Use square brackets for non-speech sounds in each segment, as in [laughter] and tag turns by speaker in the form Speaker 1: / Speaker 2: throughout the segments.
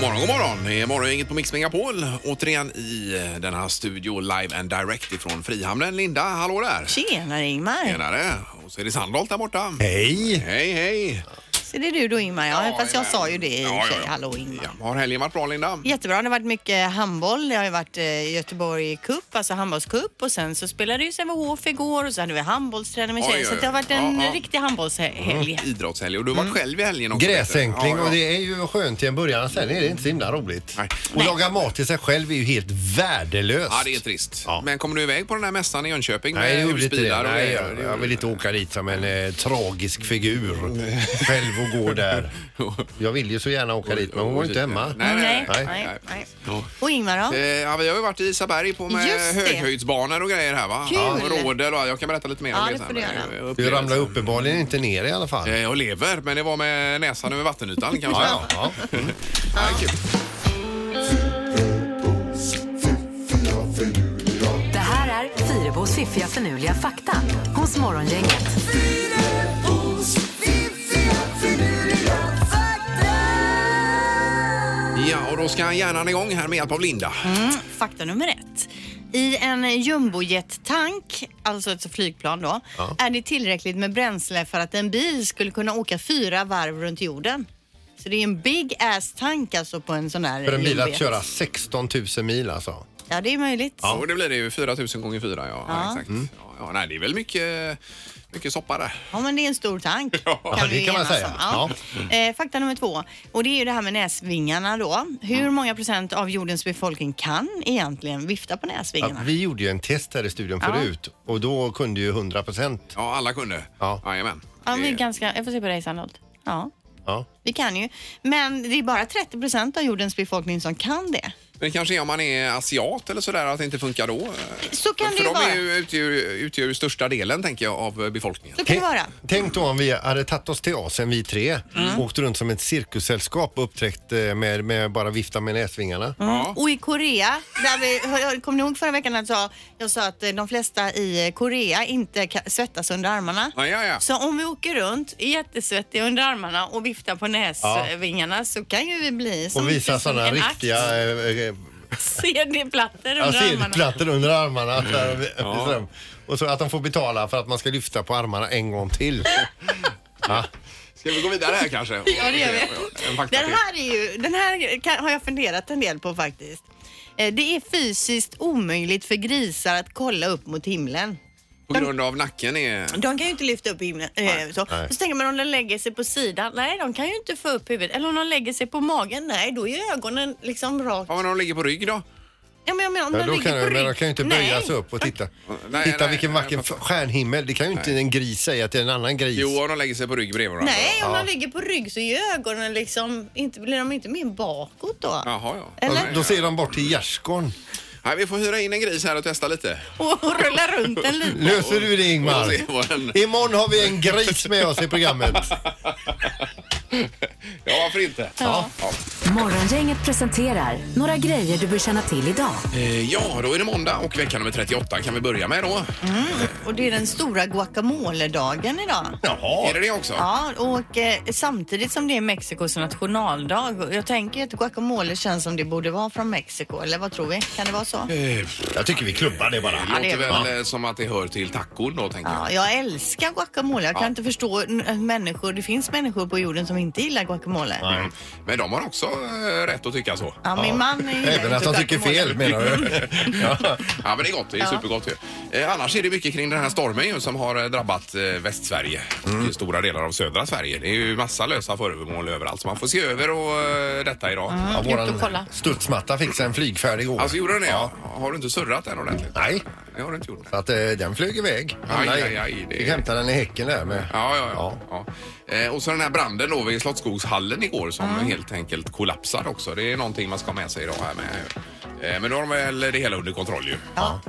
Speaker 1: morgon, god morgon! Det är Morgongänget på Mix Megapol. Återigen i den här studio live and direct ifrån Frihamnen. Linda, hallå där!
Speaker 2: Tjenare Ingmar.
Speaker 1: Tjenare! Och så är det Sandholt där borta.
Speaker 3: Hej!
Speaker 1: Hej, hej!
Speaker 2: Så det är du då Ingmar. Ja, fast jag sa ju det i och för sig. Hallå Ingmar.
Speaker 1: Ja, har helgen varit bra Linda?
Speaker 2: Jättebra, det har varit mycket handboll. Det har ju varit eh, Göteborg Cup, alltså handbollscup och sen så spelade ju Sävehof igår och så hade vi handbollsträning med
Speaker 1: Oj,
Speaker 2: tjejer.
Speaker 1: oj,
Speaker 2: Så att det har varit en
Speaker 1: ja, Mm. ja.
Speaker 2: riktig handbollshelg.
Speaker 1: Idrottshelg. Och du har
Speaker 2: Mm.
Speaker 1: varit själv i helgen också.
Speaker 3: Gräsänkling
Speaker 1: vet du.
Speaker 3: och det är ju skönt till en början, sen är det inte så himla roligt.
Speaker 1: Nej.
Speaker 3: Och laga mat till sig själv är ju helt värdelöst.
Speaker 1: Ja, det är trist.
Speaker 3: Ja.
Speaker 1: Men kommer du iväg på den här mässan i Jönköping
Speaker 3: Nej, jag gjorde inte
Speaker 1: husbilar
Speaker 3: det.
Speaker 1: och
Speaker 3: Nej,
Speaker 1: grejer?
Speaker 3: jag, jag vill inte åka dit som en eh,
Speaker 1: [laughs]
Speaker 3: tragisk figur själv och gå där. Jag vill ju så gärna åka dit, men hon var ju inte hemma.
Speaker 1: Nej, nej, nej.
Speaker 2: nej,
Speaker 1: nej.
Speaker 2: nej, Och Ingmar då?
Speaker 1: Eh, Ja, vi har ju varit i Isaberg på med
Speaker 2: Just det.
Speaker 1: höghöjdsbanor och grejer här va?
Speaker 2: Kul.
Speaker 1: Ja, och rådel och jag kan berätta lite mer
Speaker 2: Ja,
Speaker 1: om det
Speaker 2: det får du göra.
Speaker 1: men, eh,
Speaker 3: Du
Speaker 1: upplevelsen.
Speaker 3: ramlade uppenbarligen inte ner i alla fall.
Speaker 1: Eh, Jag lever, men det var med näsan över vattenytan kan man säga.
Speaker 3: Ja, ja, ja.
Speaker 1: Ja, kul.
Speaker 4: Det här är Fyrabos fiffiga förnuliga fakta hos Morgongänget.
Speaker 1: Ja, och då ska hjärnan igång här med hjälp av Linda.
Speaker 2: Fakta nummer ett. I en jumbojet-tank, alltså ett flygplan då, är det tillräckligt med bränsle för att en bil skulle kunna åka fyra varv runt jorden. Så det är en big ass tank alltså på en sån där
Speaker 3: För en bil att
Speaker 2: jumbojet.
Speaker 3: köra 16 000 mil alltså.
Speaker 2: Ja, det är möjligt.
Speaker 1: Ja. Och det blir det ju 4000 gånger 4. Ja, Mm. ja. exakt. Ja, ja, nej, det är väl mycket, mycket soppa där.
Speaker 2: Ja, men det är en stor tank.
Speaker 1: Ja,
Speaker 3: det
Speaker 2: vi
Speaker 3: kan man
Speaker 2: enas
Speaker 3: säga.
Speaker 2: om. Ja. Eh, fakta nummer två. Och det är ju det här med näsvingarna då. Hur många procent av jordens befolkning kan egentligen vifta på
Speaker 3: Ja,
Speaker 2: näsvingarna?
Speaker 3: vi gjorde ju en test här i studion
Speaker 2: Ja.
Speaker 3: förut och då kunde ju 100 procent.
Speaker 1: Ja, alla kunde.
Speaker 3: Ja.
Speaker 1: Jajamän.
Speaker 2: Ja, vi
Speaker 1: Det-
Speaker 2: är ganska... Jag får se på dig, Sandholt. Ja,
Speaker 3: Ja.
Speaker 2: vi kan ju. Men det är bara 30 procent av jordens befolkning som kan det.
Speaker 1: Men kanske är om man är asiat eller sådär att det inte funkar då.
Speaker 2: Så kan
Speaker 1: För
Speaker 2: det ju
Speaker 1: de
Speaker 2: vara.
Speaker 1: är ju, utgör, utgör ju största delen, tänker jag, av befolkningen.
Speaker 2: Så kan det vara. Mm.
Speaker 3: Tänk då om vi hade tagit oss till Asien, vi tre, åkt runt som ett cirkussällskap och uppträtt eh, med, med bara vifta med näsvingarna.
Speaker 2: Mm.
Speaker 1: Ja.
Speaker 2: Och i Korea, där vi, kommer ni ihåg förra veckan att jag sa, jag sa att eh, de flesta i Korea inte ka- svettas under armarna?
Speaker 1: Ja, ja, ja.
Speaker 2: Så om vi åker runt jättesvettiga under armarna och viftar på näsvingarna så kan ju vi bli som
Speaker 3: Och visa sådana riktiga eh, eh,
Speaker 2: CD-plattor under
Speaker 3: ja,
Speaker 2: armarna.
Speaker 3: silkesplattor under armarna. Så
Speaker 1: Mm.
Speaker 3: [laughs] här, så här. Och så att de får betala för att man ska lyfta på armarna en gång till.
Speaker 2: [laughs]
Speaker 3: ja.
Speaker 1: Ska vi gå vidare här kanske?
Speaker 2: Ja, det gör vi.
Speaker 1: En fakta
Speaker 2: Den
Speaker 1: till.
Speaker 2: här, är ju, den här kan, har jag funderat en del på faktiskt. Eh, Det är fysiskt omöjligt för grisar att kolla upp mot himlen.
Speaker 1: På grund av nacken är...
Speaker 2: De kan ju inte lyfta upp himlen. Eh, så.
Speaker 3: Nej.
Speaker 2: Och så tänker man om de lägger sig på sidan. Nej, de kan ju inte få upp huvudet. Eller om de lägger sig på magen. Nej, då är ögonen liksom rakt.
Speaker 1: Ja, men de ligger på rygg då?
Speaker 2: Ja, men jag menar om
Speaker 3: Ja,
Speaker 2: de
Speaker 3: då
Speaker 2: ligger
Speaker 3: kan,
Speaker 2: på
Speaker 3: men
Speaker 2: rygg.
Speaker 3: de kan ju inte
Speaker 2: Nej.
Speaker 3: böja sig upp och titta.
Speaker 1: nej,
Speaker 3: titta
Speaker 1: nej,
Speaker 3: vilken
Speaker 1: jag
Speaker 3: vacker
Speaker 1: fattar.
Speaker 3: stjärnhimmel. Det kan ju inte en gris säga till en annan gris.
Speaker 1: Jo, och de lägger sig på rygg bredvid varandra.
Speaker 2: Nej, om de ligger på rygg så är ögonen liksom, inte, blir de inte mer bakåt då?
Speaker 1: Jaha, ja.
Speaker 2: Eller?
Speaker 1: Nej,
Speaker 3: Då ser de bort till gärdsgården.
Speaker 1: Nej, vi får hyra in en gris här och testa lite.
Speaker 2: Och, och rulla runt den lite.
Speaker 3: Löser du det
Speaker 1: Och
Speaker 3: Ingmar?
Speaker 1: se vad den-
Speaker 3: Imorgon har vi en gris med oss i programmet.
Speaker 1: [laughs] Ja, varför inte?
Speaker 2: Ja.
Speaker 4: Morgongänget presenterar några grejer du bör känna till idag.
Speaker 1: Eh, Ja, då är det måndag och vecka nummer 38 kan vi börja med då.
Speaker 2: Mm. Och det är den stora guacamole-dagen idag.
Speaker 1: Är det det också?
Speaker 2: Ja, och eh, samtidigt som det är Mexikos nationaldag. och Jag tänker att guacamole känns som det borde vara från Mexiko, eller vad tror vi? Kan det vara så?
Speaker 3: Eh. Jag tycker vi klubbar det bara.
Speaker 1: Det
Speaker 2: det
Speaker 1: låter
Speaker 2: är
Speaker 1: väl eh, som att det hör till tacon då, tänker jag.
Speaker 2: Ja, jag älskar guacamole. Jag kan inte förstå n- människor. Det finns människor på jorden som inte gillar guacamole.
Speaker 1: Mm. Men de har också eh, rätt att tycka så.
Speaker 2: Ja, min man gillar
Speaker 3: Även
Speaker 2: inte
Speaker 3: att de tycker
Speaker 2: guacamole.
Speaker 3: fel menar du? Ja.
Speaker 1: Ja, men det är gott. Det är supergott ju. Eh, annars är det mycket kring den här stormen ju som har eh, drabbat eh, Västsverige och stora delar av södra Sverige. Det är ju massa lösa föremål överallt så man får se över och, eh, detta idag.
Speaker 3: Ja,
Speaker 2: Ut och kolla.
Speaker 3: våran studsmatta fick sig en flygfärd igår.
Speaker 1: Alltså gjorde den det? Ja. Har du inte surrat den ordentligt?
Speaker 3: Nej.
Speaker 1: Det har du inte gjort.
Speaker 3: Så att eh, den flög iväg.
Speaker 1: Aj,
Speaker 3: Nej.
Speaker 1: aj, aj, det-
Speaker 3: Fick hämta den i häcken där med.
Speaker 1: Ja, ja, ja. ja. Eh, och så den här branden då vid Slottsskogshallen igår som helt enkelt kollapsade också. Det är någonting man ska ha med sig idag här med. Eh, men då har de väl det hela under kontroll ju. Ja.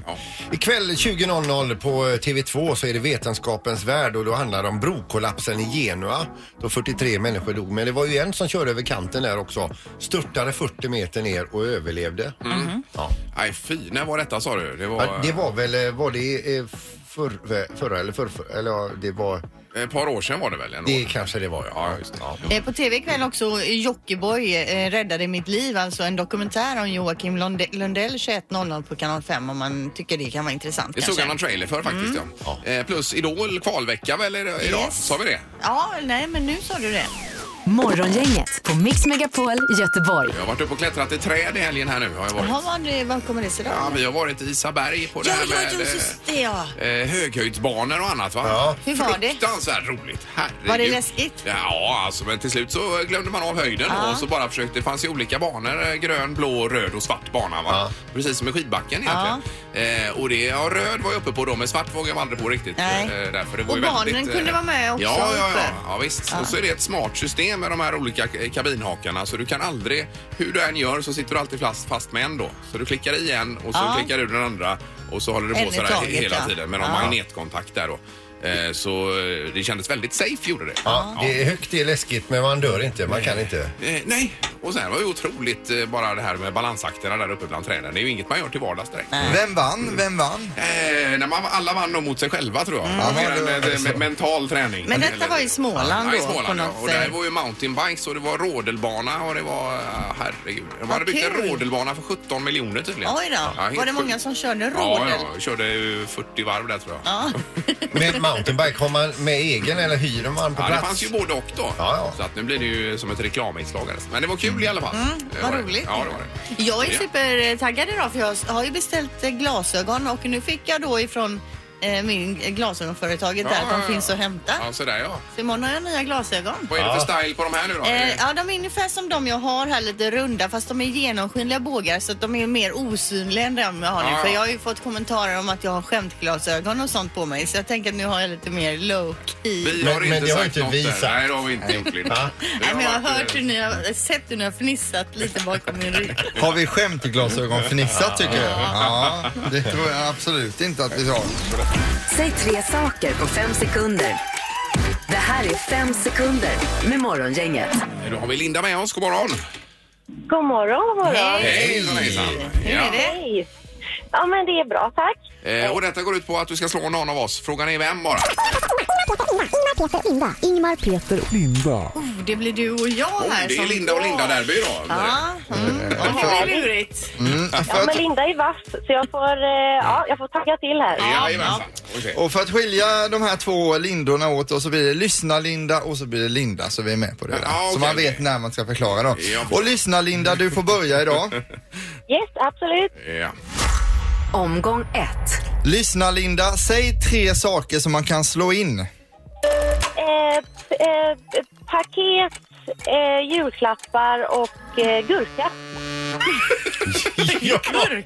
Speaker 3: Ikväll 20.00 på eh, TV2 så är det Vetenskapens värld och då handlar det om brokollapsen i Genua då 43 människor dog. Men det var ju en som körde över kanten där också. Störtade 40 meter ner och överlevde.
Speaker 1: Mm.
Speaker 3: Ja.
Speaker 1: Nej, fy. När var detta sa du? Det var...
Speaker 3: eh, Ja, det var väl, eh, var det eh, förr, förra eller förrförra, eller ja, det var
Speaker 1: Ett par år sedan var det väl? Ändå.
Speaker 3: Det kanske det var, ja.
Speaker 1: Ja, just det. Ja.
Speaker 2: Eh, På tv ikväll också Jockiboi eh, räddade mitt liv, alltså en dokumentär om Joakim Lunde- Lundell 21.00 på kanal 5 om man tycker det kan vara intressant.
Speaker 1: Det såg
Speaker 2: kanske.
Speaker 1: jag någon trailer för faktiskt. Ja. Eh, Plus Idol kvalvecka väl i- idag?
Speaker 2: Yes.
Speaker 1: Sa vi det?
Speaker 2: Ja, nej men nu sa du det.
Speaker 4: Morgongänget på Mix Megapol Göteborg.
Speaker 1: Jag har varit uppe och klättrat i träd i helgen här nu. Har jag varit.
Speaker 2: Jaha, vad, det- vad kommer det sig då?
Speaker 1: Ja, vi har varit i Isaberg på det
Speaker 2: Ja,
Speaker 1: här
Speaker 2: ja,
Speaker 1: med
Speaker 2: just det ja.
Speaker 1: eh, eh, höghöjdsbanor och annat va?
Speaker 3: Ja.
Speaker 2: Hur var det?
Speaker 1: Fruktansvärt roligt. Herregud.
Speaker 2: Var det läskigt?
Speaker 1: Ja, alltså, men till slut så glömde man av höjden
Speaker 2: Ja.
Speaker 1: och så bara försökte. Det fanns ju olika banor. eh, Grön, blå, röd och svart bana va?
Speaker 3: Ja.
Speaker 1: Precis som i skidbacken
Speaker 2: Ja.
Speaker 1: egentligen. Eh, och det, ja, röd var jag uppe på då men svart vågade jag aldrig på riktigt.
Speaker 2: Nej.
Speaker 1: Eh, därför det var
Speaker 2: Och
Speaker 1: ju
Speaker 2: barnen
Speaker 1: väldigt,
Speaker 2: kunde vara med också
Speaker 1: Ja, ja, ja.
Speaker 2: uppe.
Speaker 1: ja visst. Och så är det ett smart system med de här olika k- kabinhakarna så du kan aldrig, hur du än gör så sitter du alltid fast, fast med en då. Så du klickar i en och så
Speaker 2: Ja.
Speaker 1: klickar du den andra och så håller du på
Speaker 2: En i
Speaker 1: sådär
Speaker 2: taget,
Speaker 1: hela
Speaker 2: ja.
Speaker 1: tiden med någon
Speaker 2: Ja.
Speaker 1: magnetkontakt där då. Eh, Så eh, det kändes väldigt safe gjorde det.
Speaker 3: Ja, det är högt, det är läskigt, men man dör inte. Man kan inte.
Speaker 1: Eh, nej, och sen var det ju otroligt eh, bara det här med balansakterna där uppe bland träden. Det är ju inget man gör till vardags direkt.
Speaker 5: Vem vann? Vem vann?
Speaker 1: Eh, när man, alla vann nog mot sig själva tror
Speaker 3: Mm.
Speaker 1: jag.
Speaker 5: Ja,
Speaker 1: Mer
Speaker 5: det
Speaker 1: än
Speaker 5: var
Speaker 1: med,
Speaker 5: väl så.
Speaker 1: med mental träning.
Speaker 2: Men detta
Speaker 1: Eller-
Speaker 2: var i Småland
Speaker 1: ja,
Speaker 2: då,
Speaker 1: i
Speaker 2: på
Speaker 1: Småland, ja.
Speaker 2: något
Speaker 1: Och där
Speaker 2: sätt.
Speaker 1: var ju mountainbikes och det var rodelbana och det var... ah, Herregud. De hade byggt en
Speaker 2: kul.
Speaker 1: rodelbana för 17 miljoner tydligen.
Speaker 2: Oj då.
Speaker 1: Ja, helt
Speaker 2: var det
Speaker 1: sjukt.
Speaker 2: många som körde
Speaker 1: Ja,
Speaker 2: rodel?
Speaker 1: ja. Jag körde ju 40 varv där tror jag. Ja,
Speaker 3: Med mountainbike, har man med egen eller hyr man på
Speaker 1: det
Speaker 3: plats?
Speaker 1: fanns ju både och då.
Speaker 3: ja.
Speaker 1: Så att nu blir det ju som ett reklaminslag. här. Men det var kul i alla fall. Det
Speaker 2: Mm, Vad
Speaker 1: var det.
Speaker 2: roligt.
Speaker 1: Ja, det var det.
Speaker 2: Jag är
Speaker 1: Ja.
Speaker 2: supertaggad idag för jag har ju beställt eh, glasögon och nu fick jag då ifrån eh, min eh, glasögonföretaget där att de finns att hämta.
Speaker 1: Ja, sådär ja.
Speaker 2: Så imorgon har jag nya glasögon.
Speaker 1: Vad är det för style på de här nu då?
Speaker 2: Eh, ja, de är ungefär som de jag har här, lite runda fast de är genomskinliga bågar så att de är mer osynliga än de jag har nu.
Speaker 1: Ja, ja.
Speaker 2: För jag har ju fått kommentarer om att jag har skämtglasögon och sånt på mig så jag tänker att nu har jag lite mer low key.
Speaker 1: Vi
Speaker 3: Men-
Speaker 1: har
Speaker 3: men
Speaker 1: inte
Speaker 3: det har
Speaker 1: sagt
Speaker 3: inte
Speaker 1: något
Speaker 3: vi
Speaker 1: där.
Speaker 3: sagt.
Speaker 1: Nej, det har vi inte gjort Linda.
Speaker 3: Va?
Speaker 1: Det
Speaker 2: Nej,
Speaker 1: har
Speaker 2: men jag har
Speaker 1: varit, eh,
Speaker 2: hört hur ni har, sett hur ni har fnissat lite bakom min rygg.
Speaker 5: Har vi skämtglasögon fnissat tycker jag? Ja, det tror jag absolut inte att vi har.
Speaker 4: Säg tre saker på fem sekunder. Det här är fem sekunder med Morgongänget.
Speaker 1: eh, Då har vi Linda med oss. God morgon.
Speaker 6: God morgon, god morgon.
Speaker 2: Hej.
Speaker 1: Hejsan, hejsan.
Speaker 2: Hur är det?
Speaker 6: Hej. Ja, men det är bra, tack.
Speaker 1: Eh, och detta går ut på att du ska slå någon av oss. Frågan är vem bara.
Speaker 2: Oh, det blir du och jag
Speaker 1: Oh,
Speaker 2: här.
Speaker 1: det är
Speaker 2: som-
Speaker 1: Linda och Linda-derby idag. [laughs]
Speaker 2: Ja, mm. Jaha, det är lurigt.
Speaker 6: Ja, men Linda är vass, så jag får, eh, ja, jag får tagga till här.
Speaker 1: Jajamensan. Okej.
Speaker 5: Och för att skilja de här två lindorna åt och så blir det lyssna-Linda och så blir det Linda så vi är med på det där.
Speaker 1: Ja, okej,
Speaker 5: så man
Speaker 1: okej.
Speaker 5: vet när man ska förklara dem.
Speaker 1: Ja.
Speaker 5: Och lyssna-Linda, du får börja idag.
Speaker 6: Yes, absolut.
Speaker 1: Ja.
Speaker 4: Omgång ett.
Speaker 5: Lyssna-Linda, säg tre saker som man kan slå in.
Speaker 6: Eh, p- eh, p- paket, eh, julklappar och eh, gurka.
Speaker 2: Gurka?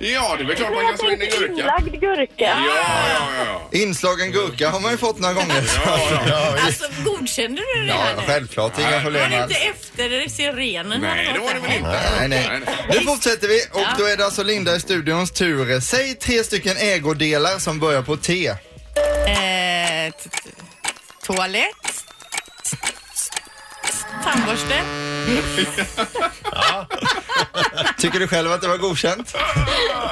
Speaker 1: ja, det är väl klart man
Speaker 6: Jag
Speaker 1: kan slå in en
Speaker 6: tänkte
Speaker 1: gurka.
Speaker 6: inlagd gurka.
Speaker 1: Ja, ja, ja.
Speaker 5: Inslagen gurka har man ju fått några gånger.
Speaker 1: ja, ja.
Speaker 3: Ja, visst.
Speaker 2: Alltså, godkände du det
Speaker 5: Ja,
Speaker 2: här nu?
Speaker 5: självklart. Inga problem
Speaker 2: Var det
Speaker 5: alls.
Speaker 2: inte efter sirenen?
Speaker 1: Nej, det var det väl inte.
Speaker 5: Nej, nej. Nu fortsätter vi och då är det alltså Linda i studions tur. Säg tre stycken ägodelar som börjar på T.
Speaker 2: Eh, t- t- toalett? Tandborste?
Speaker 5: Tycker du själv att det var godkänt?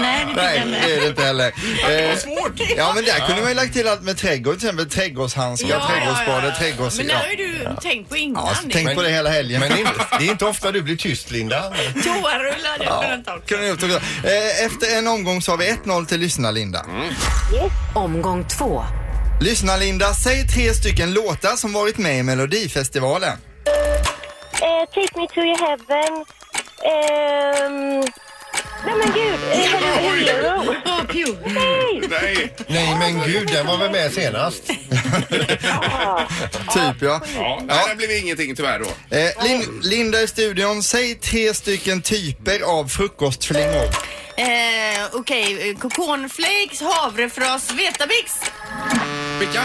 Speaker 2: Nej, det
Speaker 5: Nej,
Speaker 2: fick jag
Speaker 5: det är det inte heller.
Speaker 1: Det var
Speaker 5: Eh,
Speaker 1: svårt.
Speaker 5: Ja men där kunde man ju lagt till allt med trädgård till exempel trädgårdshandskar, trädgårdsspade, trädgårds...
Speaker 2: Men det
Speaker 5: ja.
Speaker 2: har ju du tänkt på innan.
Speaker 1: alltså,
Speaker 2: liksom.
Speaker 5: Ja,
Speaker 2: det.
Speaker 5: tänk på det hela helgen.
Speaker 3: Men det är, inte, det är inte ofta du blir tyst, Linda.
Speaker 2: Toarullar, det kunde inte
Speaker 5: [laughs]
Speaker 2: också.
Speaker 5: Kunde ni gjort också. Eh, Efter en omgång så har vi 1-0 till Lyssna-Linda.
Speaker 4: Omgång två.
Speaker 5: Lyssna-Linda, säg tre stycken låtar som varit med i Melodifestivalen.
Speaker 6: Eh, take me to your heaven. Ehm, nej men gud, eh, hello, hello.
Speaker 2: Åh, pju.
Speaker 6: Nej,
Speaker 1: Nej.
Speaker 3: Nej, men gud, den var väl med senast?
Speaker 6: ja.
Speaker 5: Typ ja.
Speaker 1: Ja, nej, det blev ingenting tyvärr då.
Speaker 5: Eh, Lin- Linda i studion, säg tre stycken typer av frukostflingor.
Speaker 2: Eh, Okej, eh, kokonflakes, havrefras, vetabix.
Speaker 1: Vilka?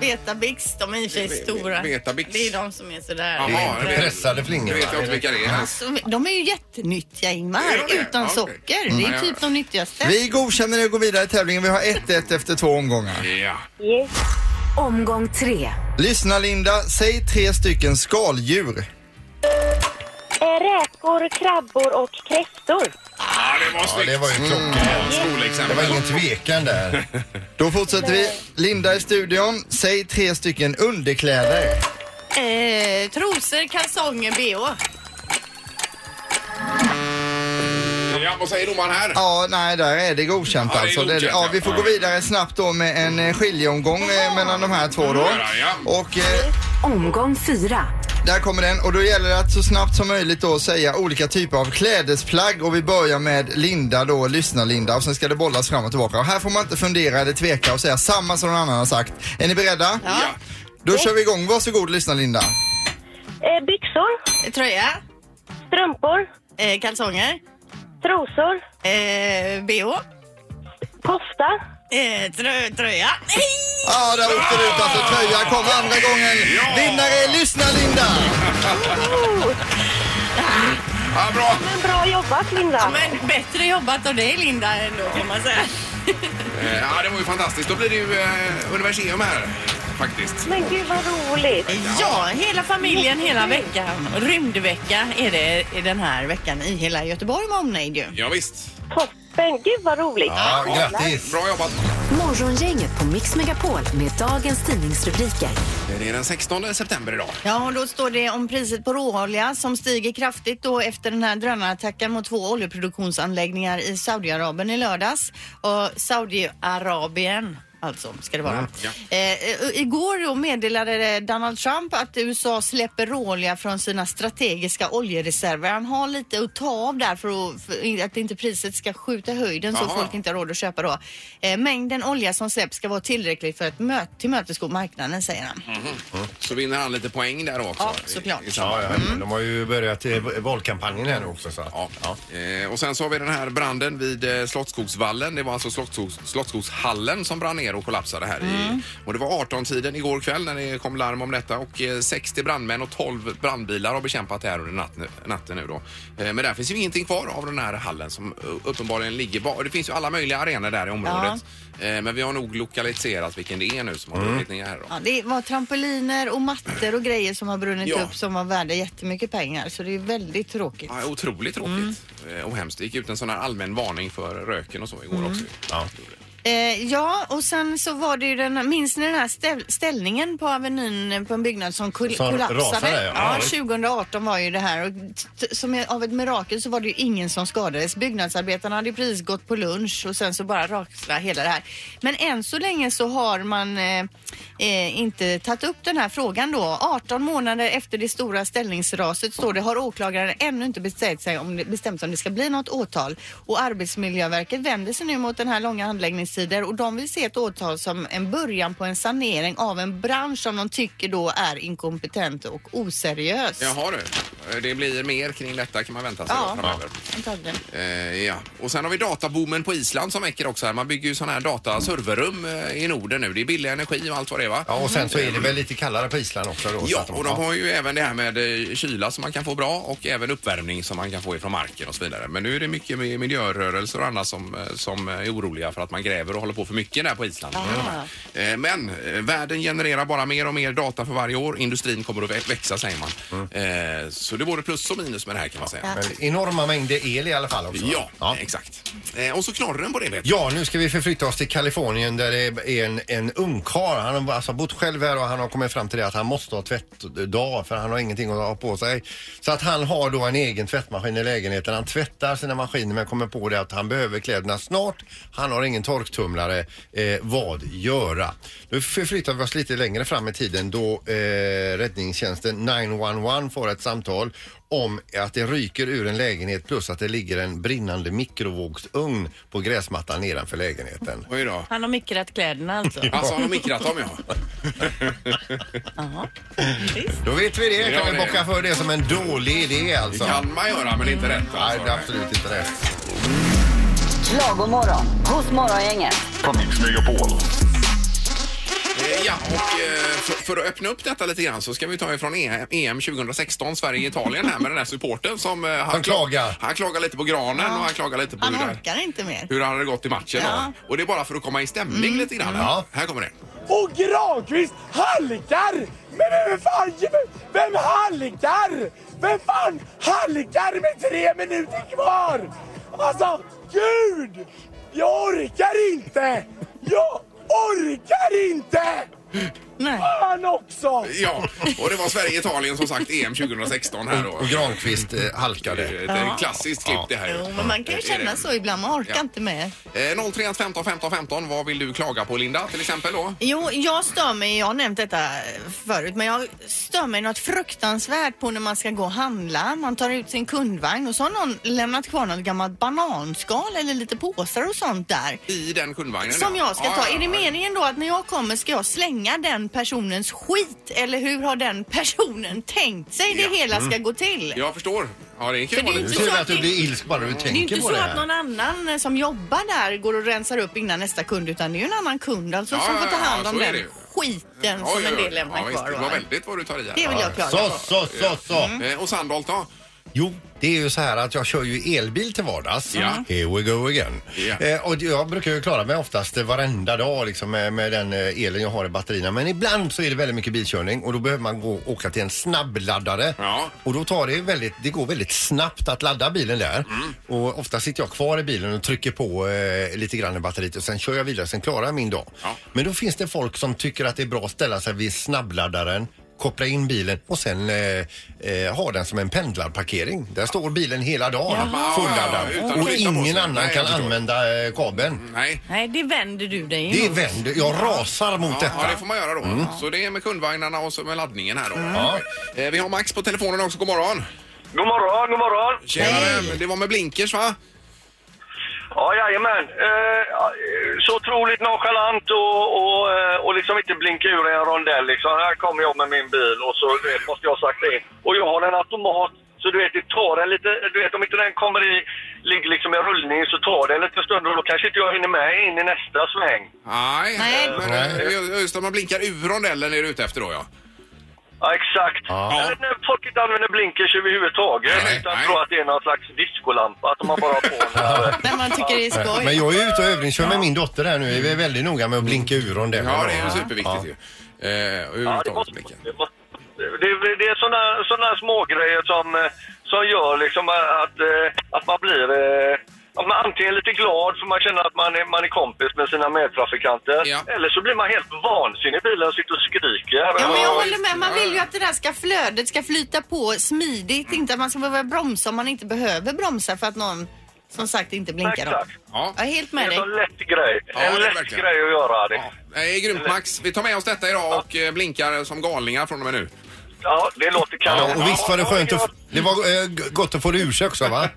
Speaker 2: Vetabix, de är i och för sig
Speaker 1: Ve-
Speaker 2: stora.
Speaker 1: Vetabix.
Speaker 2: Det är de som är sådär.
Speaker 1: Jaha,
Speaker 2: Eh,
Speaker 1: det vet-
Speaker 3: Pressade flingor.
Speaker 1: Nu vet jag inte vilka det är.
Speaker 2: Alltså, de är ju jättenyttiga
Speaker 1: Är
Speaker 2: Ingmar,
Speaker 1: de det?
Speaker 2: utan
Speaker 1: Ja, okej.
Speaker 2: socker. Det
Speaker 1: Mm.
Speaker 2: är typ de nyttigaste.
Speaker 5: Vi godkänner det och går vidare i tävlingen. Vi har 1-1 efter två omgångar.
Speaker 1: Ja.
Speaker 6: Yes.
Speaker 4: Omgång tre.
Speaker 5: Lyssna Linda, säg tre stycken skaldjur.
Speaker 6: Eh, räkor, krabbor och kräftor.
Speaker 1: Ja, det var
Speaker 3: Ja,
Speaker 1: snyggt! Mm.
Speaker 3: det var ju klockrent. Det
Speaker 1: Skolexamen.
Speaker 3: var ingen tvekan där.
Speaker 5: Då fortsätter vi. Linda i studion, säg tre stycken underkläder.
Speaker 2: Eh, trosor, kalsonger, bh.
Speaker 1: Ja, vad säger domaren här?
Speaker 5: Ja, nej, där är det godkänt
Speaker 1: Ja, det är
Speaker 5: alltså. Det är-
Speaker 1: godkänt,
Speaker 5: ja, vi får
Speaker 1: ja.
Speaker 5: gå vidare snabbt då med en eh, skiljeomgång eh, mellan de här två då.
Speaker 1: Ja, ja.
Speaker 5: Och eh,
Speaker 4: Omgång fyra.
Speaker 5: där kommer den och då gäller det att så snabbt som möjligt då säga olika typer av klädesplagg och vi börjar med Linda då, lyssna Linda och sen ska det bollas fram och tillbaka. Och här får man inte fundera eller tveka och säga samma som någon annan har sagt. Är ni beredda?
Speaker 2: Ja.
Speaker 5: Då kör vi igång. Varsågod lyssna Linda.
Speaker 6: Eh, byxor,
Speaker 2: Tröja,
Speaker 6: strumpor,
Speaker 2: eh, kalsonger,
Speaker 6: trosor,
Speaker 2: eh, bh.
Speaker 6: kofta.
Speaker 2: Eh, trö, tröja. Nej!
Speaker 5: Ja, där åkte det ut alltså. Tröja kom andra gången.
Speaker 1: Ja!
Speaker 5: Vinnare är lyssna Linda!
Speaker 6: Oh,
Speaker 1: Ja, bra!
Speaker 6: men bra jobbat Linda.
Speaker 2: Men bättre jobbat av dig Linda ändå får man säga.
Speaker 1: Eh, Ja, det var ju fantastiskt. Då blir det ju eh, universium här, faktiskt.
Speaker 6: Men gud vad roligt.
Speaker 2: Ja, hela familjen hela veckan. Rymdvecka är det i den här veckan i hela Göteborg med omnejd ju.
Speaker 1: Ja, visst.
Speaker 6: Toppen, gud vad roligt.
Speaker 3: Ja, grattis.
Speaker 1: Bra jobbat.
Speaker 4: Morgongänget på Mix Megapol med dagens tidningsrubriker.
Speaker 1: Det är den 16 september idag.
Speaker 2: Ja, och då står det om priset på råolja som stiger kraftigt då efter den här drönarattacken mot två oljeproduktionsanläggningar i Saudiarabien i lördags. Och Saudiarabien. Alltså, ska det vara.
Speaker 1: Mm, Ja.
Speaker 2: Eh, eh, igår då meddelade Donald Trump att USA släpper råolja från sina strategiska oljereserver. Han har lite att ta av där för att, för att inte priset ska skjuta i höjden så
Speaker 1: Jaha.
Speaker 2: folk inte har råd att köpa då. Eh, mängden olja som släpps ska vara tillräcklig för att möt, tillmötesgå marknaden, säger han.
Speaker 1: Mm. Så vinner han lite poäng där också.
Speaker 2: Ja, såklart.
Speaker 1: I- i samband.
Speaker 3: Ja, ja, men de har ju börjat eh, valkampanjen här nu också. Så. att-
Speaker 1: Ja. Eh, och sen så har vi den här branden vid eh, Slottsskogsvallen. Det var alltså Slottsskogs, Slottsskogshallen som brann ner och kollapsade här. I, och det var 18-tiden igår kväll när det kom larm om detta och eh, 60 brandmän och 12 brandbilar har bekämpat det här under natt, natten nu då. Eh, men där finns ju ingenting kvar av den här hallen som eh, uppenbarligen ligger bara. Det finns ju alla möjliga arenor där i området. Eh, men vi har nog lokaliserat vilken det är nu som har brunnit ner här då.
Speaker 2: Ja, det var trampoliner och mattor och grejer som har brunnit
Speaker 1: Ja.
Speaker 2: upp som var värda jättemycket pengar. Så det är väldigt tråkigt.
Speaker 1: Ja, otroligt tråkigt eh, och hemskt. Det gick ut en sån här allmän varning för röken och så igår också.
Speaker 3: Ja.
Speaker 2: Eh, ja, och sen så var det ju den, minns ni den här ställ, ställningen på Avenyn på en byggnad som kol-
Speaker 3: Som
Speaker 2: kollapsade?
Speaker 3: rasade, ja.
Speaker 2: ja.
Speaker 3: Ja, visst.
Speaker 2: 2018 var ju det här och t- t- som är- av ett mirakel så var det ju ingen som skadades. Byggnadsarbetarna hade ju precis gått på lunch och sen så bara rasade hela det här. Men än så länge så har man eh, eh, inte tagit upp den här frågan då. 18 månader efter det stora ställningsraset står det har åklagaren ännu inte bestämt sig om det, bestämt om det ska bli något åtal och Arbetsmiljöverket vänder sig nu mot den här långa handläggningstider och de vill se ett åtal som en början på en sanering av en bransch som de tycker då är inkompetent och oseriös.
Speaker 1: Jaha du, Eh, det blir mer kring detta kan man vänta sig
Speaker 2: Ja.
Speaker 1: då framöver.
Speaker 2: Antagligen.
Speaker 1: Eh, ja. Och sen har vi databoomen på Island som väcker också här. Man bygger ju sådana här dataserverrum eh, i Norden nu. Det är billig energi och allt vad det är va?
Speaker 3: ja, och sen så är det väl lite kallare på Island också. Då, så
Speaker 1: Ja,
Speaker 3: att
Speaker 1: och de har ju även det här med eh, kyla som man kan få bra och även uppvärmning som man kan få ifrån marken och så vidare. Men nu är det mycket med miljörörelser och annat som, eh, som är oroliga för att man gräver och håller på för mycket där på Island. Eh, Men eh, världen genererar bara mer och mer data för varje år. Industrin kommer att vä- växa säger man.
Speaker 3: Mm.
Speaker 1: Eh, Så det är både plus och minus med det här kan man säga.
Speaker 3: Men enorma mängder el i alla fall också.
Speaker 1: Ja, exakt. Eh, Och så knorren på det vet du.
Speaker 3: Ja, nu ska vi förflytta oss till Kalifornien där det är en, en ungkarl. Han har alltså bott själv här och han har kommit fram till det att han måste ha tvättdag för han har ingenting att ha på sig. Så att han har då en egen tvättmaskin i lägenheten. Han tvättar sina maskiner men kommer på det att han behöver kläderna snart. Han har ingen torktumlare. Eh, vad göra? Nu förflyttar vi oss lite längre fram i tiden då eh, räddningstjänsten 911 får ett samtal om att det ryker ur en lägenhet plus att det ligger en brinnande mikrovågsugn på gräsmattan nedanför lägenheten.
Speaker 1: Oj då.
Speaker 2: Han har mikrat kläderna alltså.
Speaker 1: Alltså har de mikrat dem ja.
Speaker 2: Jaha. Visst.
Speaker 3: Då vet vi det.
Speaker 1: Ja,
Speaker 3: Kan vi
Speaker 1: det-
Speaker 3: bocka för det som en dålig idé
Speaker 1: Det
Speaker 3: alltså?
Speaker 1: kan man göra men inte rätt
Speaker 3: Nej,
Speaker 1: alltså.
Speaker 3: det är absolut inte rätt.
Speaker 7: Morgon hos Morgongänget.
Speaker 1: Eh, Ja, och eh, för, för att öppna upp detta lite grann så ska vi ta ifrån E- EM 2016, Sverige-Italien här med den här supporten som... eh, Han
Speaker 3: Som klagar.
Speaker 1: Han klagar lite på granen och han klagar lite på
Speaker 2: Han
Speaker 1: hur det,
Speaker 2: orkar inte mer.
Speaker 1: hur det hade gått i matchen.
Speaker 2: Ja. Mm.
Speaker 1: Och det är bara för att komma i stämning lite grann.
Speaker 3: Ja.
Speaker 1: Här kommer det.
Speaker 8: Och Granqvist halkar! Men vem fan, vem halkar? Vem fan halkar med tre minuter kvar? Alltså, gud! Jag orkar inte! Jag orkar inte!
Speaker 2: Nej.
Speaker 8: Fan också!
Speaker 1: Ja, och det var Sverige-Italien som sagt EM 2016 här då.
Speaker 3: Och Granqvist eh,
Speaker 1: Det
Speaker 3: halkade.
Speaker 1: är Ett ja. klassiskt klipp det här.
Speaker 2: Jo, men man kan ju
Speaker 1: Det är
Speaker 2: känna
Speaker 1: det.
Speaker 2: så ibland. Man orkar
Speaker 1: Ja.
Speaker 2: inte med.
Speaker 1: Eh, 031 15 15 15, vad vill du klaga på Linda till exempel då?
Speaker 2: Jo, jag stör mig, jag har nämnt detta förut, men jag stör mig något fruktansvärt på när man ska gå och handla. Man tar ut sin kundvagn och så har någon lämnat kvar något gammalt bananskal eller lite påsar och sånt där.
Speaker 1: I den kundvagnen?
Speaker 2: Som
Speaker 1: ja.
Speaker 2: jag ska
Speaker 1: Ja,
Speaker 2: ta.
Speaker 1: ja,
Speaker 2: Är det
Speaker 1: ja.
Speaker 2: meningen då att när jag kommer ska jag slänga den personens skit? Eller hur har den personen tänkt sig det
Speaker 1: Ja. Mm.
Speaker 2: hela ska gå till?
Speaker 1: Jag förstår. Ja, det kan ju
Speaker 2: För det
Speaker 1: vara lite
Speaker 2: är inte
Speaker 3: Nu
Speaker 1: så.
Speaker 3: ser
Speaker 2: så
Speaker 3: vi
Speaker 2: att
Speaker 3: att du
Speaker 2: det-
Speaker 3: blir ilsk bara du
Speaker 2: Det är
Speaker 3: tänker
Speaker 2: inte
Speaker 3: på
Speaker 2: så
Speaker 3: det
Speaker 2: att
Speaker 3: här.
Speaker 2: någon annan eh, som jobbar där går och rensar upp innan nästa kund utan det är ju en annan kund alltså
Speaker 1: Ja,
Speaker 2: som
Speaker 1: ja,
Speaker 2: får ta
Speaker 1: ja,
Speaker 2: hand om
Speaker 1: så är
Speaker 2: den
Speaker 1: det ju.
Speaker 2: skiten som en del lämnar
Speaker 1: ja, visst,
Speaker 2: kvar.
Speaker 1: Det
Speaker 2: då.
Speaker 1: var väldigt vad du tar i här.
Speaker 2: Det vill jag klaga
Speaker 3: Så,
Speaker 2: på.
Speaker 3: så, så, så.
Speaker 1: Eh, Och Sandholt då?
Speaker 3: Jo, det är ju så här att jag kör ju elbil till vardags.
Speaker 1: Ja.
Speaker 3: Here we go again.
Speaker 1: Ja.
Speaker 3: Eh, och jag brukar ju klara mig oftast varenda dag liksom, med, med den eh, elen jag har i batterierna. Men ibland så är det väldigt mycket bilkörning och då behöver man gå och åka till en snabbladdare.
Speaker 1: Ja.
Speaker 3: Och då tar det väldigt, det går väldigt snabbt att ladda bilen där.
Speaker 1: Mm.
Speaker 3: Och ofta sitter jag kvar i bilen och trycker på eh, lite grann i batteriet och sen kör jag vidare, sen klarar jag min dag.
Speaker 1: Ja.
Speaker 3: Men då finns det folk som tycker att det är bra att ställa sig vid snabbladdaren koppla in bilen och sen eh, eh, ha den som en pendlarparkering. Där står bilen hela dagen
Speaker 1: Jaha.
Speaker 3: fulladdad
Speaker 1: Ja, utan att
Speaker 3: och
Speaker 1: flytta på
Speaker 3: ingen
Speaker 1: sig.
Speaker 3: annan
Speaker 1: Nej, jag
Speaker 3: kan
Speaker 1: förstår. Mm.
Speaker 3: använda eh, kabeln.
Speaker 1: Nej.
Speaker 2: Nej, det vänder du dig
Speaker 3: Det
Speaker 2: emot.
Speaker 3: vänder, jag rasar mot
Speaker 1: Ja,
Speaker 3: detta.
Speaker 1: ja, det får man göra då. Så det är med kundvagnarna och så med laddningen här då.
Speaker 3: Mm.
Speaker 1: Eh, Vi har Max på telefonen också. God morgon!
Speaker 7: God morgon, god morgon.
Speaker 1: Tjenare! Det var med blinkers va?
Speaker 7: Ja, jajamän. Eh, så otroligt nonchalant och, och, eh, och liksom inte blinka ur i en rondell. Liksom. Här kommer jag med min bil och så du vet, måste jag sakta in. Och jag har en automat, så du vet, det tar en lite... Du vet, om inte den kommer i, ligger liksom i rullning så tar det en liten stund och då kanske inte jag hinner med in i nästa sväng.
Speaker 1: Nej.
Speaker 2: Nej.
Speaker 1: Men eh, ju- just att man blinkar ur rondellen är du ute efter då ja.
Speaker 7: Ja, exakt.
Speaker 3: Ja.
Speaker 7: Eller när folk inte använder blinkers överhuvudtaget
Speaker 1: Nej,
Speaker 7: utan
Speaker 1: nej.
Speaker 7: tror att det är någon slags diskolampa som man bara har på. när-
Speaker 2: Men man tycker det är skoj.
Speaker 3: Men jag är ute och övningskör med min dotter här nu. Vi är väldigt noga med att blinka ur rondellen.
Speaker 1: Ja, det är ju superviktigt ju. Eh,
Speaker 7: Ja, det, måste,
Speaker 1: överhuvudtaget blinka.
Speaker 7: det, måste, det, det är sådana såna smågrejer som, eh, som gör liksom att, eh, att man blir eh, att man antingen lite glad för man känner att man är, man är kompis med sina medtrafikanter
Speaker 1: Ja.
Speaker 7: eller så blir man helt vansinnig i bilen och sitter och skriker.
Speaker 2: Ja, men jag
Speaker 1: Ja,
Speaker 2: håller
Speaker 1: just det.
Speaker 2: med. Man vill ju
Speaker 1: Ja, ja.
Speaker 2: att det där ska flödet ska flyta på smidigt. Inte att man ska behöva bromsa om man inte behöver bromsa för att någon som sagt inte blinkar. då.
Speaker 7: Exakt.
Speaker 1: Ja.
Speaker 2: Jag är helt
Speaker 7: Det är
Speaker 2: med
Speaker 7: en
Speaker 2: dig.
Speaker 7: sån lätt grej.
Speaker 1: Ja, det
Speaker 7: en
Speaker 1: är
Speaker 7: lätt
Speaker 1: verkligen.
Speaker 7: grej att göra. Det.
Speaker 1: Ja, Eh, det är grymt Max. Vi tar med oss detta idag och eh, blinkar som galningar från och med nu.
Speaker 7: Ja, det låter kanon.
Speaker 3: Ja, och visst var det
Speaker 7: Ja,
Speaker 3: skönt
Speaker 7: ja.
Speaker 3: att... Det var eh, g- gott att få det ur sig också [laughs] va?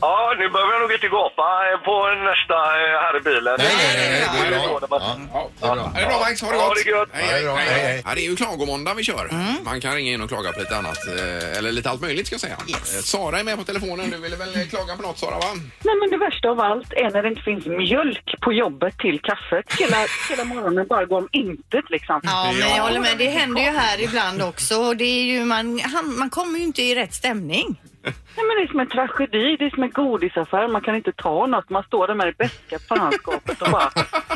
Speaker 7: Ja, nu behöver jag nog inte gapa eh, på nästa eh, här i bilen.
Speaker 3: Nej, nej, nej, nej, det är
Speaker 7: Det
Speaker 3: bra.
Speaker 7: så när man-
Speaker 3: Ja.
Speaker 1: Ja,
Speaker 3: det är bra.
Speaker 1: Ja, det är bra Max, ha det
Speaker 7: Ja,
Speaker 1: gott!
Speaker 7: det är gött.
Speaker 1: Hej,
Speaker 3: Ja, det är
Speaker 1: hej,
Speaker 3: bra.
Speaker 1: hej,
Speaker 3: Hej,
Speaker 1: hej.
Speaker 3: hej.
Speaker 1: Ja, det är ju klagomåndag vi kör. Man kan ringa in och klaga på lite annat. eh, Eller lite allt möjligt ska jag säga. Eh, Sara är med på telefonen. Du ville väl eh, klaga på något Sara va?
Speaker 9: Nej, men det värsta av allt är när det inte finns mjölk på jobbet till kaffet. Hela, hela morgonen bara går om intet liksom.
Speaker 2: Ja, men jag håller med. Det händer ju här ibland också. Och det är ju, man, han, man kommer ju inte i rätt stämning.
Speaker 9: Nej, men det är som en tragedi. Det är som en godisaffär. Man kan inte ta något. Man står där med det bästa fanskapet och bara...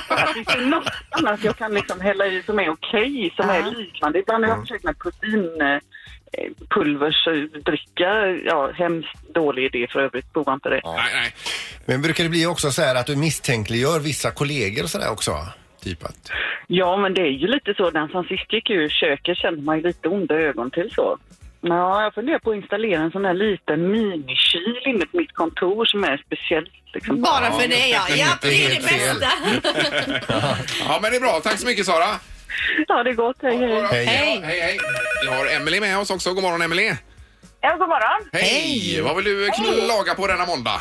Speaker 9: Att det inte är något annat jag kan liksom hälla i som är okej, som är liknande. Ibland har jag försökt med protein... eh, Pulversdricka, ja hemskt dålig idé för övrigt, prova inte det.
Speaker 1: Nej, nej.
Speaker 3: Men brukar det bli också så här att du misstänkliggör vissa kollegor och sådär också? Typ att...
Speaker 9: Ja, men det är ju lite så. Den som sist gick ur köket kände man ju lite onda ögon till så. Ja, jag funderar på att installera en sån här liten minikyl inne på mitt kontor som är speciellt. Liksom.
Speaker 2: Bara för det ja. Ja, det är det
Speaker 3: helt fel.
Speaker 2: bästa.
Speaker 1: Ja, men det är bra. Tack så mycket Sara.
Speaker 9: Ja, det är gott. Hej, hej.
Speaker 1: Hej.
Speaker 2: Hej.
Speaker 1: Mm. Hej, hej. Vi har Emily med oss också. God morgon Emily.
Speaker 10: Ja, god morgon.
Speaker 1: Hej. Vad vill du klaga på denna måndag?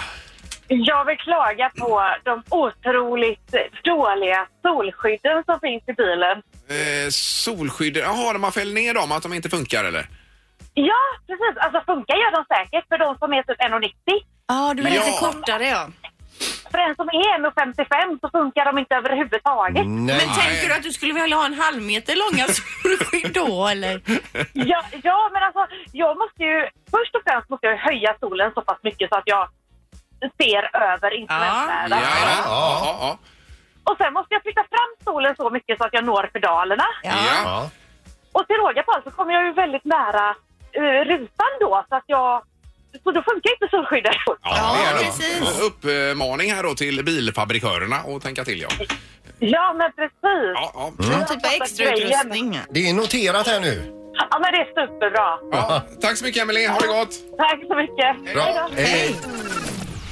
Speaker 10: Jag vill klaga på de otroligt dåliga solskydden som finns i bilen.
Speaker 1: Eh, solskydd. Jaha, man fäller ner dem, att de inte funkar eller?
Speaker 10: Ja, precis. Alltså funkar gör de säkert för de som är typ 1,90.
Speaker 2: Ja, du är
Speaker 1: Ja.
Speaker 2: lite kortare ja.
Speaker 10: För den som är 1,55 så funkar de inte överhuvudtaget.
Speaker 3: Nej.
Speaker 2: Men tänker du att du skulle vilja ha en halv meter långa [laughs] solskydd då eller?
Speaker 10: Ja, ja, men alltså jag måste ju... Först och främst måste jag höja solen så pass mycket så att jag ser över
Speaker 1: Ja,
Speaker 10: influensvärlden.
Speaker 1: ja, ja. ja, ja.
Speaker 10: Och sen måste jag flytta fram solen så mycket så att jag når pedalerna.
Speaker 1: ja.
Speaker 3: Ja.
Speaker 10: Och till råga på allt så kommer jag ju väldigt nära eh, rutan då så att jag så då funkar inte solskyddet.
Speaker 1: det är det. Och Uppmaning här då till bilfabrikörerna och tänka till ja. Mm.
Speaker 10: Ja, men precis.
Speaker 1: Ja, ja.
Speaker 2: Någon typ av extrautrustning.
Speaker 3: Det är noterat här nu.
Speaker 10: Ja, men det är superbra.
Speaker 1: Ja. Tack så mycket Emelie, ha det gott!
Speaker 10: Tack så mycket. Hej då.
Speaker 3: Hej.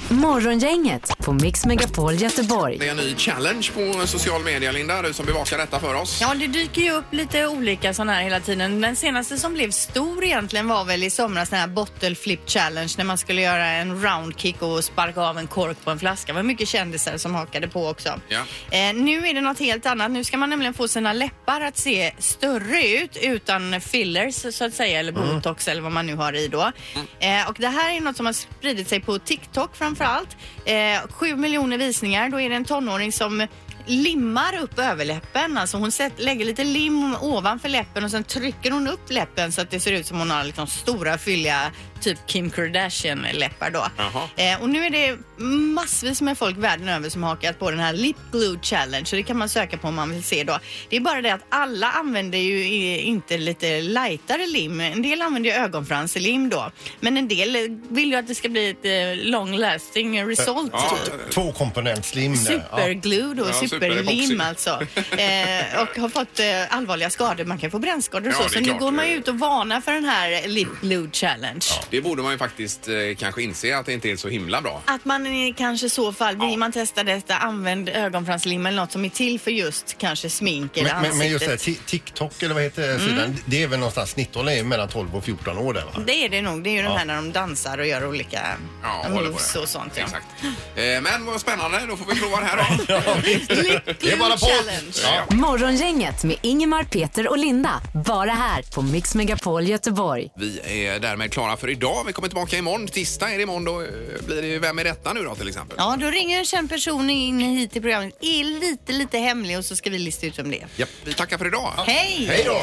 Speaker 4: Morgongänget på Mix Megapol Göteborg.
Speaker 1: Det är en ny challenge på social media Linda, du som bevakar detta för oss.
Speaker 2: Ja, det dyker ju upp lite olika sådana här hela tiden. Den senaste som blev stor egentligen var väl i somras den här bottle flip challenge när man skulle göra en round kick och sparka av en kork på en flaska. Det var mycket kändisar som hakade på också.
Speaker 1: Ja.
Speaker 2: Eh, nu är det något helt annat. Nu ska man nämligen få sina läppar att se större ut utan fillers så att säga eller botox eller vad man nu har i då. Eh, och det här är något som har spridit sig på TikTok framför allt. Eh, sju miljoner visningar. Då är det en tonåring som limmar upp överläppen. Alltså hon sätt, lägger lite lim ovanför läppen och sen trycker hon upp läppen så att det ser ut som hon har liksom stora fylliga typ Kim Kardashian-läppar då.
Speaker 1: Jaha.
Speaker 2: Eh, och nu är det massvis med folk världen över som har hakat på den här Lip Glue Challenge. Så det kan man söka på om man vill se då. Det är bara det att alla använder ju i- inte lite lightare lim. En del använder ju ögonfranslim då. Men en del eh, vill ju att det ska bli ett eh, long lasting result.
Speaker 1: Ja,
Speaker 2: typ.
Speaker 3: Tvåkomponentslim där. Ja.
Speaker 2: Superglue då,
Speaker 1: Ja,
Speaker 2: superlim
Speaker 1: superepoxy.
Speaker 2: alltså. Eh, och har fått eh, allvarliga skador. Man kan få brännskador och
Speaker 1: Ja,
Speaker 2: så.
Speaker 1: det är
Speaker 2: Så nu
Speaker 1: klart.
Speaker 2: går man ju ut och varnar för den här Lip Glue Challenge.
Speaker 1: Det borde man ju faktiskt eh, kanske inse att det inte är så himla bra.
Speaker 2: Att man i kanske så fall, vill man testa detta, använd ögonfranslim eller något som är till för just kanske smink eller
Speaker 3: Men, men, men just det här,
Speaker 2: ansiktet.
Speaker 3: Ti- TikTok eller vad heter sidan? Det är väl någonstans snittåldern är mellan 12 och 14 år där va?
Speaker 2: Det är det nog. Det är ju de här när de dansar och gör olika
Speaker 1: Ja, håller på
Speaker 2: moves
Speaker 1: det.
Speaker 2: och sånt. Ja. [laughs]
Speaker 1: Exakt. Eh, Men vad spännande, då får vi prova det här då.
Speaker 2: Lip
Speaker 3: Det är
Speaker 2: Glue
Speaker 3: bara på.
Speaker 2: Challenge.
Speaker 1: Ja.
Speaker 4: Morgongänget med Ingemar, Peter och Linda. Bara här på Mix Megapol Göteborg.
Speaker 1: Vi är därmed klara för idag. Vi kommer tillbaka imorgon. Tisdag är det imorgon. Då eh, blir det ju Vem är detta nu då till exempel?
Speaker 2: Ja, då ringer en känd person in hit i programmet. Är lite, lite hemlig och så ska vi lista ut vem det är.
Speaker 1: Japp, Vi tackar för idag.
Speaker 2: Hej!
Speaker 3: Hej då!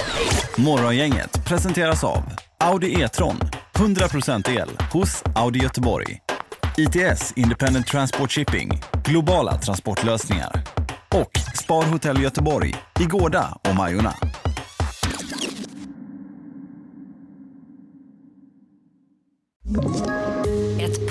Speaker 11: Morgongänget presenteras av Audi E-tron. 100% el hos Audi Göteborg. ITS Independent Transport Shipping. Globala transportlösningar. Och Spar Hotel Göteborg i Gårda och Majorna.
Speaker 12: Ett